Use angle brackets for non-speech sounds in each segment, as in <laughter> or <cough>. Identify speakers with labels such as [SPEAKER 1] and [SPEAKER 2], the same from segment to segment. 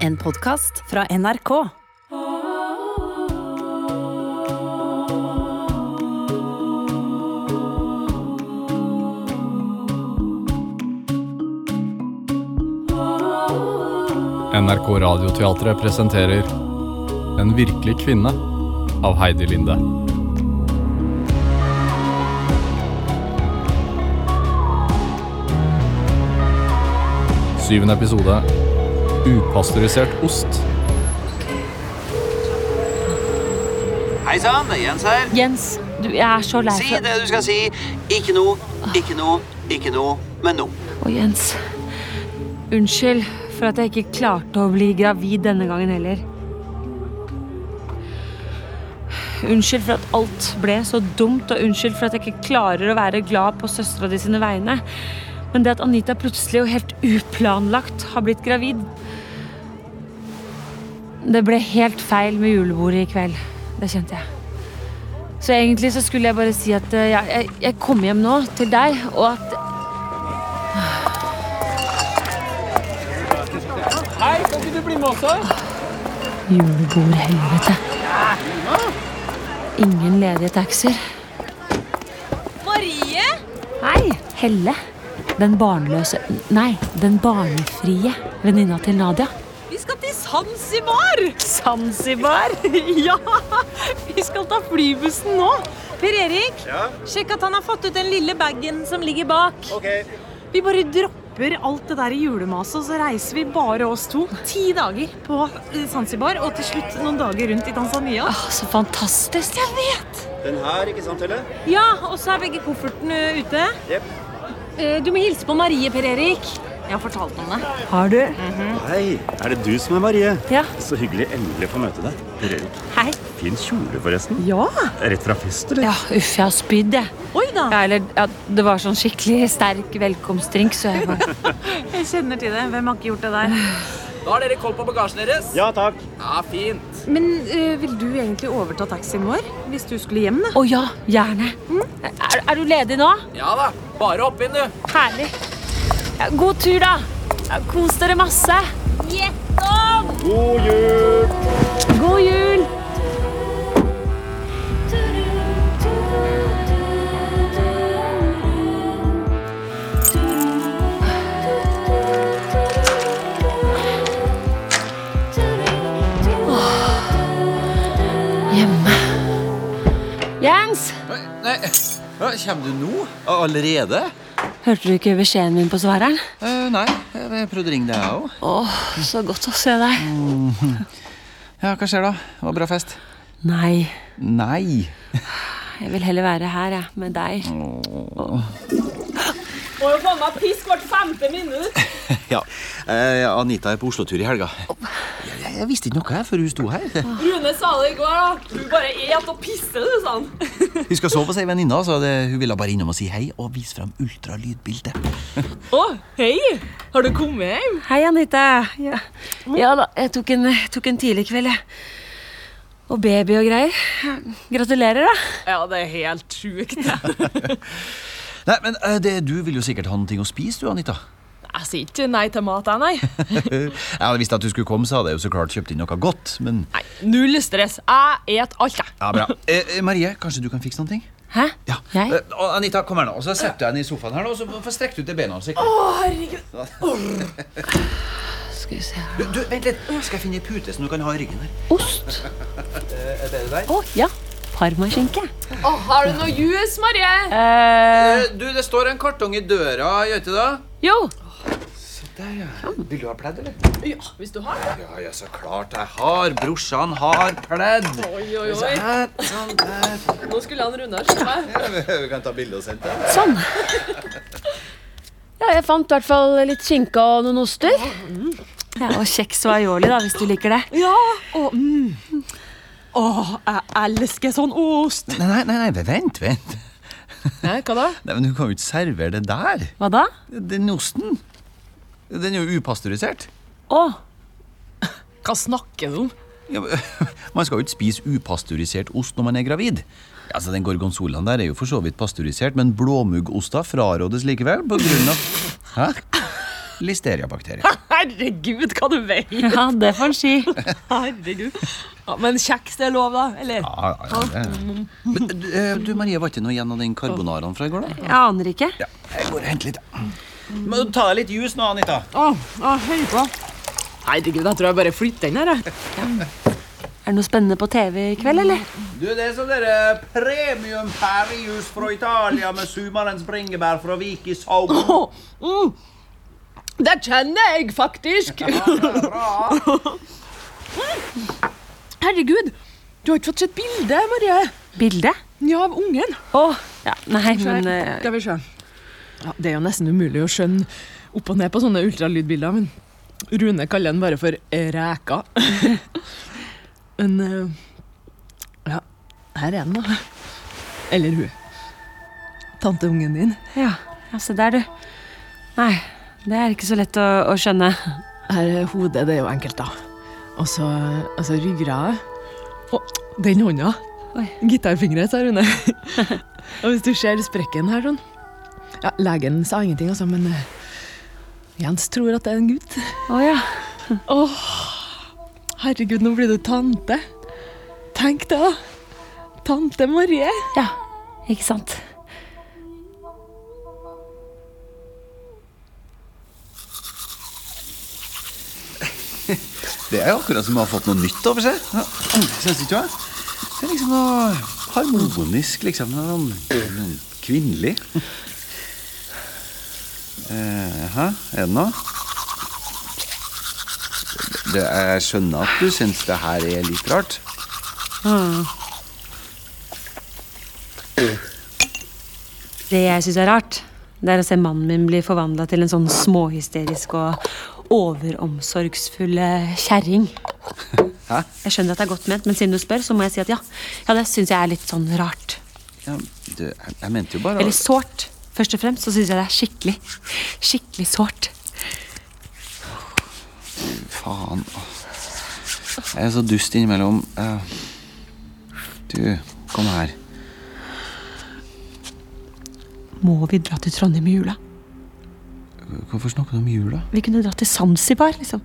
[SPEAKER 1] En podkast fra NRK.
[SPEAKER 2] NRK Radioteatret presenterer En virkelig kvinne av Heidi Linde. Syvende episode Upasteurisert ost.
[SPEAKER 3] Hei sann, det er Jens her.
[SPEAKER 4] Jens, du, jeg er så lei
[SPEAKER 3] Si
[SPEAKER 4] for
[SPEAKER 3] det du skal si. Ikke noe, ikke noe, ikke noe, men noe.
[SPEAKER 4] Å, Jens. Unnskyld for at jeg ikke klarte å bli gravid denne gangen heller. Unnskyld for at alt ble så dumt, og unnskyld for at jeg ikke klarer å være glad på søstera di sine vegne. Men det at Anita plutselig og helt uplanlagt har blitt gravid Det ble helt feil med julebordet i kveld. Det kjente jeg. Så egentlig så skulle jeg bare si at eh, jeg, jeg, jeg kom hjem nå til deg, og at Julebordhelvete. Ingen ledige taxier. Marie? Hei. Helle. Den barnløse Nei, den barnefrie venninna til Nadia.
[SPEAKER 5] Vi skal til Zanzibar!
[SPEAKER 4] Zanzibar?
[SPEAKER 5] Ja! Vi skal ta flybussen nå. Per Erik, sjekk at han har fått ut den lille bagen som ligger bak. Vi bare dropper alt det der julemaset, og så reiser vi bare oss to. Ti dager på eh, Zanzibar, og til slutt noen dager rundt i Tanzania.
[SPEAKER 4] Så fantastisk. Jeg vet.
[SPEAKER 6] Den her, ikke sant, Helle?
[SPEAKER 5] Ja, og så er begge koffertene ute.
[SPEAKER 6] Jep.
[SPEAKER 5] Eh, Du må hilse på Marie, Per Erik. Jeg har fortalt om det.
[SPEAKER 4] Har du?
[SPEAKER 6] Hei, er det du som er Marie?
[SPEAKER 4] Ja.
[SPEAKER 6] Så hyggelig endelig å få møte deg. Per Erik,
[SPEAKER 4] Hei.
[SPEAKER 6] fin kjole forresten.
[SPEAKER 5] Ja!
[SPEAKER 6] Rett fra fest, eller?
[SPEAKER 4] Ja, uff, jeg har spydd, jeg.
[SPEAKER 5] Oi da!
[SPEAKER 4] Ja, eller ja, det var sånn skikkelig sterk velkomstdrink, så jeg bare
[SPEAKER 5] Jeg kjenner til det. Hvem har ikke gjort det der?
[SPEAKER 7] Da har dere koll på bagasjen deres.
[SPEAKER 6] Ja, takk.
[SPEAKER 7] Ja, fint.
[SPEAKER 5] Men eh, vil du egentlig overta taxien vår hvis du skulle hjem, da?
[SPEAKER 4] Å ja, gjerne. Er, er du ledig nå?
[SPEAKER 7] Ja da. Bare hopp inn, du.
[SPEAKER 4] Herlig. Ja, god tur, da. Ja, Kos dere masse.
[SPEAKER 6] God jul!
[SPEAKER 4] God jul. Åh, Hjemme. Jens,
[SPEAKER 7] Nei, Kommer du nå? Allerede? Eh,
[SPEAKER 4] hørte du ikke beskjeden min på svareren?
[SPEAKER 7] nei, jeg prøvde å ringe deg òg.
[SPEAKER 4] Åh, så godt å se deg.
[SPEAKER 7] Ja, hva skjer da? Det var bra fest.
[SPEAKER 4] Nei,
[SPEAKER 7] Nei.
[SPEAKER 4] jeg vil heller være her, jeg, med deg.
[SPEAKER 8] Ja. Eh, Anita er på Oslo-tur i helga.
[SPEAKER 7] Jeg, jeg visste ikke noe her før hun sto her.
[SPEAKER 9] <laughs> Rune sa det i går, da. Du bare et og pisser, du, sa han.
[SPEAKER 8] <laughs> Hun skal sove hos ei venninne, så det, hun ville bare innom og si hei og vise fram ultralydbildet.
[SPEAKER 9] Å, hei! Har du kommet hjem?
[SPEAKER 4] Hei, Anita. Ja, ja da, jeg tok en, tok en tidlig kveld, jeg. Og baby og greier. Gratulerer, da.
[SPEAKER 9] Ja, det er helt sjukt.
[SPEAKER 8] Nei, men eh, det, Du vil jo sikkert ha noe å spise, du, Anita. <laughs> Eh,
[SPEAKER 9] Jeg sier ikke nei til mat, jeg, nei.
[SPEAKER 8] Jeg hadde visst at du skulle komme, så hadde jeg jo så klart kjøpt inn noe godt. Men
[SPEAKER 9] nei. Null stress. Jeg et alt, jeg.
[SPEAKER 8] ja, bra. Eh, eh, Marie, kanskje du kan fikse noen ting?
[SPEAKER 4] Hæ?
[SPEAKER 8] Ja.
[SPEAKER 4] Jeg?
[SPEAKER 8] Eh, og Anita, kom her nå. Og så setter du deg ned i sofaen her nå, og så får strekt ut det beina. Så.
[SPEAKER 4] Skal vi se her.
[SPEAKER 8] Sånn. Du, du, vent litt. Skal jeg finne ei pute som du kan ha i ryggen her?
[SPEAKER 4] Ost. Å, ja. Parmaskinke.
[SPEAKER 9] Å, har du noe jus, Marie?
[SPEAKER 4] Eh,
[SPEAKER 7] Du, det står en kartong i døra, gjør ikke det?
[SPEAKER 4] jo.
[SPEAKER 7] Vil du ha pledd, eller?
[SPEAKER 9] Sånn. Ja, hvis du har det.
[SPEAKER 7] Ja, ja, så klart jeg har. Brorsan har pledd.
[SPEAKER 9] Oi, oi, oi.
[SPEAKER 7] Her, sånn der.
[SPEAKER 9] Nå skulle han Runar skjønne.
[SPEAKER 8] Vi kan ta bilde og sende det.
[SPEAKER 4] Sånn. Ja, jeg fant i hvert fall litt skinke og noen oster. Mm. Ja, og kjeks og aioli, da, hvis du liker det.
[SPEAKER 9] Ja, og mm. Å, jeg elsker sånn ost.
[SPEAKER 8] Nei, nei, nei, nei, vent, vent.
[SPEAKER 9] Nei, hva da?
[SPEAKER 8] <laughs> Nei, men Du kan jo ikke servere det der.
[SPEAKER 4] Hva da?
[SPEAKER 8] Den osten Den er jo upasteurisert.
[SPEAKER 4] Å,
[SPEAKER 9] Hva snakker du om?
[SPEAKER 8] Ja, men, <laughs> man skal jo ikke spise upasteurisert ost når man er gravid. Altså, Den gorgonzolaen der er jo for
[SPEAKER 9] <laughs>
[SPEAKER 8] så vidt pasteurisert, men blåmuggoster frarådes likevel på grunn av Hæ? listeriabakterier.
[SPEAKER 9] Herregud, hva du vet!
[SPEAKER 4] Ja, det får han si.
[SPEAKER 9] Herregud. Ja, men kjeks, det er lov, da? Eller?
[SPEAKER 8] Ja, ja, ja, det. Men eh, du, Marie, var ikke noe igjen av den carbonaraen fra i går, da?
[SPEAKER 4] Jeg aner ikke.
[SPEAKER 8] Jeg går og henter litt. jeg.
[SPEAKER 7] Må du ta deg litt juice nå, Anita.
[SPEAKER 9] høy på. Herregud, jeg tror jeg bare flytter inn her. jeg.
[SPEAKER 4] Er det noe spennende på TV i kveld, eller?
[SPEAKER 7] Du, Det er sånn der premium pærejus fra Italia med sumarens bringebær fra Vik i Sogn.
[SPEAKER 9] Det kjenner jeg faktisk. Herregud, du har ikke fått sett bildet, Marie.
[SPEAKER 4] Bilde?
[SPEAKER 9] Ja, av ungen.
[SPEAKER 4] Å, ja, nei, men eh,
[SPEAKER 9] Skal vi se. Ja, det er jo nesten umulig å skjønne opp og ned på sånne ultralydbilder, men Rune kaller den bare for reka. <laughs> men eh, ja, her er den, da. Eller hun. Tanteungen din.
[SPEAKER 4] Ja, ja, se der, du. Nei, det er ikke så lett å, å skjønne.
[SPEAKER 9] Her er hodet, det er jo enkelt, da. Og så altså, ryggradet. Og den hånda.
[SPEAKER 4] Oi.
[SPEAKER 9] Gitarfingre, sa Rune. <laughs> og hvis du ser sprekken her sånn Ja, legen sa ingenting, altså, men eh, Jens tror at det er en gutt.
[SPEAKER 4] Å ja.
[SPEAKER 9] Herregud, nå blir du tante. Tenk det, da. Tante Marie.
[SPEAKER 4] Ja, ikke sant.
[SPEAKER 8] <laughs> Det er jo akkurat som om jeg har fått noe nytt over seg. Ja, Synes ikke du det? Det er liksom noe harmonisk, liksom. Noe sånn kvinnelig. Eh, Hæ? Er det noe? Det, jeg skjønner at du syns det her er litt rart.
[SPEAKER 4] Det jeg syns er rart, det er å se mannen min bli forvandla til en sånn småhysterisk og overomsorgsfull eh, kjerring.
[SPEAKER 8] Hæ?
[SPEAKER 4] Jeg skjønner at det er godt ment, men siden du spør, så må jeg si at ja. Ja, det syns jeg er litt sånn rart.
[SPEAKER 8] Ja, du, jeg, jeg mente jo bare
[SPEAKER 4] Eller sårt. Først og fremst så syns jeg det er skikkelig, skikkelig sårt.
[SPEAKER 8] Faen. ass. Jeg er så dust innimellom. Eh, Du, kom her.
[SPEAKER 4] Må vi dra til Trondheim i jula?
[SPEAKER 8] Hvorfor snakker du om jula?
[SPEAKER 4] Vi kunne dra til Zanzibar, liksom.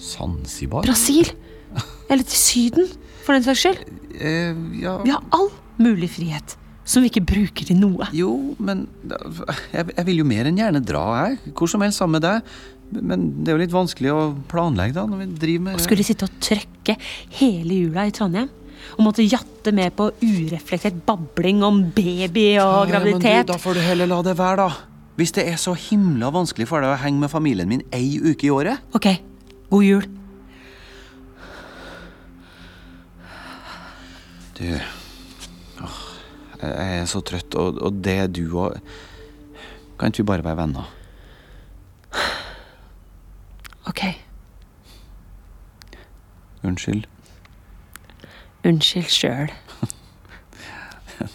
[SPEAKER 8] Zanzibar?
[SPEAKER 4] Brasil. Eller til Syden, for den saks skyld.
[SPEAKER 8] Eh, ja
[SPEAKER 4] Vi har all mulig frihet som vi ikke bruker til noe.
[SPEAKER 8] Jo, men da- jeg, jeg vil jo mer enn gjerne dra, jeg. Hvor som helst sammen med deg. Men det er jo litt vanskelig å planlegge, da, når vi driver med
[SPEAKER 4] Skulle sitte og trøkke hele jula i Trondheim. Og måtte jatte med på ureflektert babling om baby og
[SPEAKER 8] Ja, men du,
[SPEAKER 4] graviditet.
[SPEAKER 8] da får du heller la det være, da. Hvis det er så himla vanskelig for deg å henge med familien min ei uke i året
[SPEAKER 4] Ok, god jul.
[SPEAKER 8] Du åh, Jeg er så trøtt, og, og det du og Kan ikke vi bare være venner?
[SPEAKER 4] Ok,
[SPEAKER 8] Unnskyld.
[SPEAKER 4] unnskyld sjøl.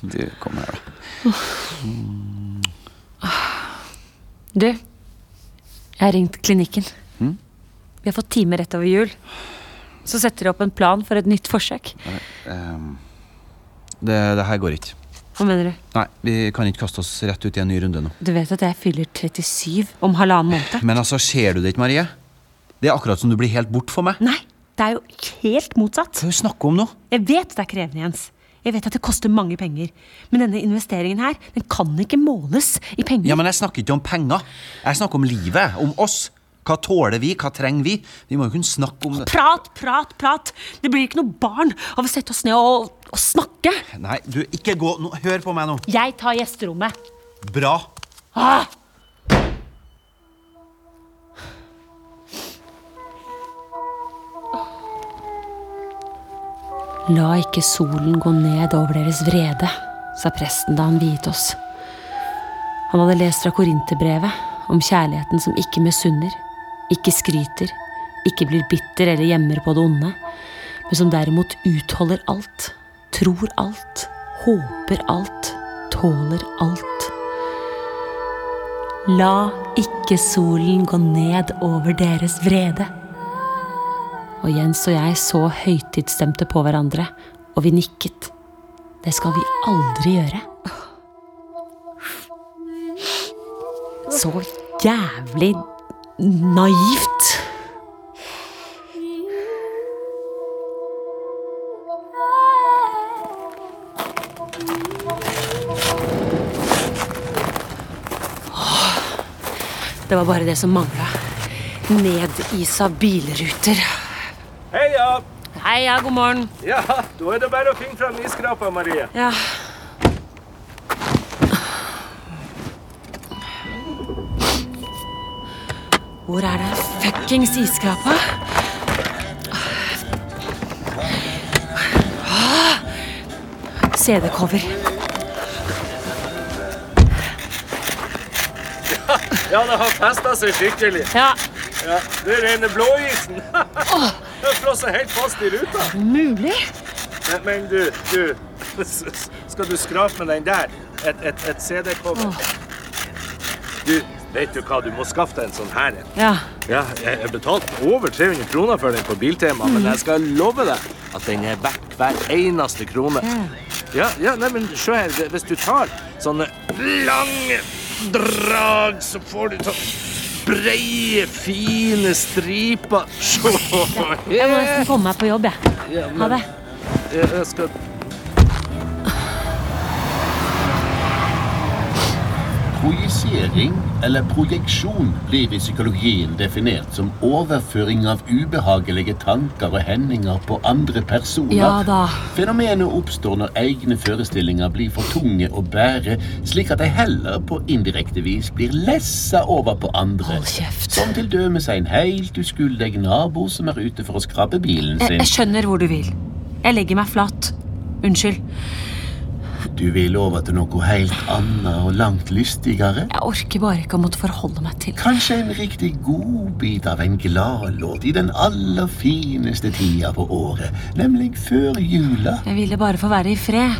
[SPEAKER 8] Du, kom her, da.
[SPEAKER 4] Du, jeg har ringt klinikken.
[SPEAKER 8] Hm?
[SPEAKER 4] Vi har fått time rett over jul. Så setter de opp en plan for et nytt forsøk.
[SPEAKER 8] Ehm, det, det her går ikke.
[SPEAKER 4] Hva mener du?
[SPEAKER 8] Nei, vi kan ikke kaste oss rett ut i en ny runde nå.
[SPEAKER 4] Du vet at jeg fyller 37 om halvannen måned?
[SPEAKER 8] Men altså, ser du det ikke, Marie? Det er akkurat som du blir helt bort for meg.
[SPEAKER 4] Nei, det er jo helt motsatt.
[SPEAKER 8] Hva er det du snakker om nå?
[SPEAKER 4] Jeg vet det er krevende, Jens. Jeg vet at det koster mange penger. Men denne investeringen her, den kan ikke måles i penger.
[SPEAKER 8] Ja, men jeg snakker ikke om penger. Jeg snakker om livet, om oss. Hva tåler vi, hva trenger vi? Vi må jo kunne snakke om det.
[SPEAKER 4] Prat, prat, prat! Det blir ikke noe barn av å sette oss ned og, og snakke.
[SPEAKER 8] Nei, du, ikke gå nå. Hør på meg nå.
[SPEAKER 4] Jeg tar gjesterommet.
[SPEAKER 8] Bra.
[SPEAKER 4] Ah! La ikke solen gå ned over deres vrede, sa presten da han viet oss. Han hadde lest fra Korinterbrevet om kjærligheten som ikke misunner, ikke skryter, ikke blir bitter eller gjemmer på det onde, men som derimot utholder alt, tror alt, håper alt, tåler alt. La ikke solen gå ned over deres vrede. Og Jens og jeg så høytidsstemte på hverandre, og vi nikket. Det skal vi aldri gjøre. Så jævlig naivt. Åh, Det var bare det som mangla. Nedisa bilruter.
[SPEAKER 6] Heia!
[SPEAKER 4] Heia, god morgen.
[SPEAKER 6] Ja, da er det bare å finne fram iskrapa, Marie.
[SPEAKER 4] Ja. Hvor er det fuckings iskrapa? Ah! CD-cover.
[SPEAKER 6] Ja, det har festa seg skikkelig.
[SPEAKER 4] Ja,
[SPEAKER 6] Ja, det er rene blåisen. Den flosser helt fast i ruta.
[SPEAKER 4] mulig.
[SPEAKER 6] Men, men du, du s- s- Skal du skrape med den der? Et, et, et CD-cover? Du, vet du hva? Du må skaffe deg en sånn her en.
[SPEAKER 4] Ja,
[SPEAKER 6] Ja, jeg, jeg betalte over 300 kroner for den på Biltema, men jeg skal love deg at den er verdt hver eneste krone. Ja, ja, nei, men se her. Hvis du tar sånne lange drag, så får du sånn breie, fine striper. <laughs> Se
[SPEAKER 4] jeg må
[SPEAKER 6] her.
[SPEAKER 4] nesten komme meg på jobb, jeg.
[SPEAKER 6] Ja, men-
[SPEAKER 4] Ha det.
[SPEAKER 6] jeg, jeg skal
[SPEAKER 10] Projisering, eller projeksjon, blir i psykologien definert som overføring av ubehagelige tanker og hendinger på andre personer.
[SPEAKER 4] Ja da.
[SPEAKER 10] Fenomenet oppstår når egne forestillinger blir for tunge å bære, slik at de heller på indirekte vis blir lessa over på andre.
[SPEAKER 4] Hold kjeft.
[SPEAKER 10] Som til dømes en helt uskyldig nabo som er ute for å skrabbe bilen
[SPEAKER 4] Eh, Jeg,
[SPEAKER 10] sin.
[SPEAKER 4] jeg skjønner hvor du vil. Jeg legger meg flat. Unnskyld.
[SPEAKER 10] Du vil over til noe helt annet og langt lystigere?
[SPEAKER 4] Jeg orker bare ikke å måtte forholde meg til
[SPEAKER 10] Kanskje en riktig god bit av en gladlåt i den aller fineste tida på året, nemlig før jula.
[SPEAKER 4] Jeg ville bare få være i fred.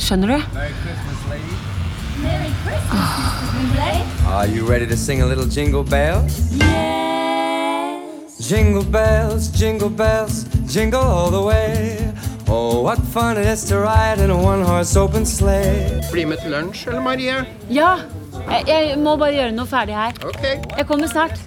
[SPEAKER 4] Skjønner du?
[SPEAKER 11] Are you ready to sing a little jingle bells? Yes. Jingle bells, jingle bells, jingle all the way. Oh, what fun it is to ride in a one-horse open sleigh.
[SPEAKER 3] Bli med til lunsj, eller, Marie?
[SPEAKER 4] Ja. Jeg, jeg må bare gjøre noe ferdig her. Jeg kommer snart.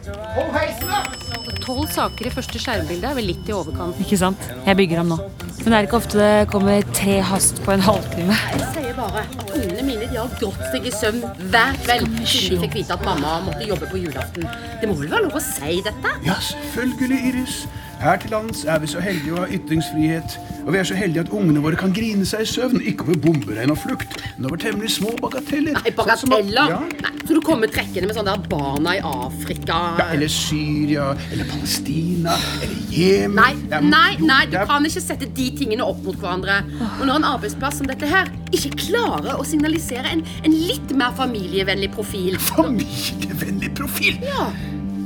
[SPEAKER 1] Tolv saker i første skjermbilde er vel litt i overkant.
[SPEAKER 4] Ikke sant? Jeg bygger ham nå. Men det er ikke ofte det kommer tre hast på en halvtime.
[SPEAKER 1] Jeg sier bare at ungene mine de har grått seg i søvn hver kveld siden de fikk vite at mamma måtte jobbe på julaften. Det må vel være lov å si dette?
[SPEAKER 12] Ja, selvfølgelig, Iris. Her til lands er vi så heldige å ha ytringsfrihet. Og vi er så heldige at ungene våre kan grine seg i søvn, ikke over bomberegn og flukt, men over temmelig små bagateller.
[SPEAKER 1] Nei,
[SPEAKER 12] Sånn som at-
[SPEAKER 1] bagateller!
[SPEAKER 12] Ja.
[SPEAKER 1] Nei, Så du kommer trekkende med sånne der barna i Afrika
[SPEAKER 12] Ja, eller Syria, eller Palestina, eller Jemen
[SPEAKER 1] Nei,
[SPEAKER 12] Ja, men-
[SPEAKER 1] nei,
[SPEAKER 12] jo,
[SPEAKER 1] nei, du
[SPEAKER 12] det er-
[SPEAKER 1] kan ikke sette de tingene opp mot hverandre. Og når en arbeidsplass som dette her ikke klarer å signalisere en, en litt mer familievennlig profil
[SPEAKER 12] Familievennlig profil!
[SPEAKER 1] Ja.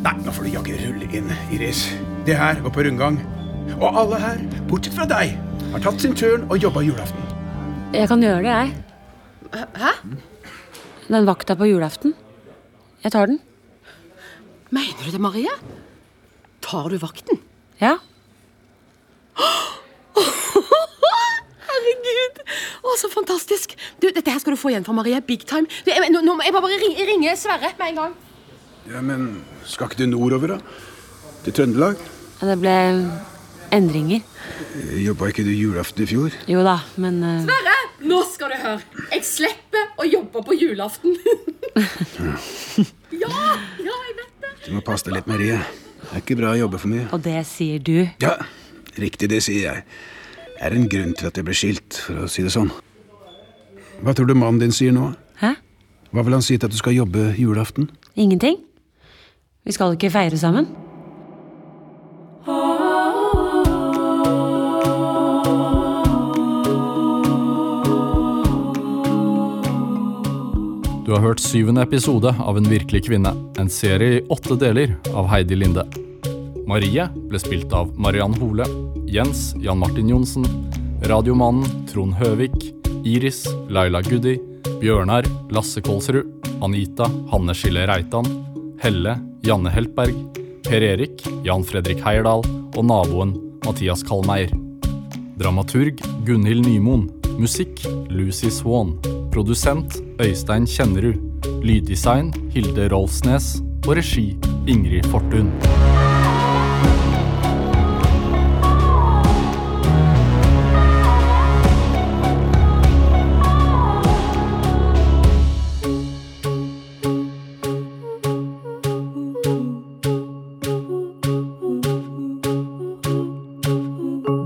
[SPEAKER 12] Nei, nå får du jaggu rulle inn, Iris. Det her var på rundgang. Og alle her, bortsett fra deg, har tatt sin turn og jobba julaften.
[SPEAKER 4] Jeg kan gjøre det, jeg.
[SPEAKER 1] Hæ?
[SPEAKER 4] Den vakta på julaften. Jeg tar den.
[SPEAKER 1] Mener du det, Marie? Tar du vakten?
[SPEAKER 4] Ja.
[SPEAKER 1] Herregud! Å, så fantastisk! Du, Dette her skal du få igjen for Marie. Big time. Du, jeg, nå, nå må jeg bare ringe, ringe Sverre med en gang.
[SPEAKER 12] Ja, men skal ikke du nordover, da? Til Trøndelag?
[SPEAKER 4] Det ble endringer.
[SPEAKER 12] Jobba ikke du julaften i fjor?
[SPEAKER 4] Jo da, men eh,
[SPEAKER 1] Sverre, nå skal du høre. Jeg slipper å jobbe på julaften. ja, ja, jeg vet det.
[SPEAKER 12] Du må passe deg litt, Marie. Det er ikke bra å jobbe for mye.
[SPEAKER 4] Og det sier du.
[SPEAKER 12] Ja, riktig det sier jeg. Det er en grunn til at jeg ble skilt, for å si det sånn. Hva tror du mannen din sier nå?
[SPEAKER 4] Hæ?
[SPEAKER 12] Hva vil han si til at du skal jobbe julaften?
[SPEAKER 4] Ingenting. Vi skal ikke feire sammen.
[SPEAKER 2] Du har hørt syvende episode av En virkelig kvinne, en serie i åtte deler av Heidi Linde. Marie ble spilt av Mariann Hole, Jens Jan Martin Johnsen, Radiomannen Trond Høvik, Iris Laila Guddi, Bjørnar Lasse Kolsrud, Anita Hanne Skille Reitan, Helle Janne Heltberg, Per Erik Jan Fredrik Heierdal og naboen Mathias Kalmeier. Dramaturg Gunhild Nymoen. Musikk Lucy Swan. Produsent Øystein Kjennerud. Lyddesign Hilde Rolfsnes. Og regi Ingrid Fortun.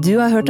[SPEAKER 1] Du har hørt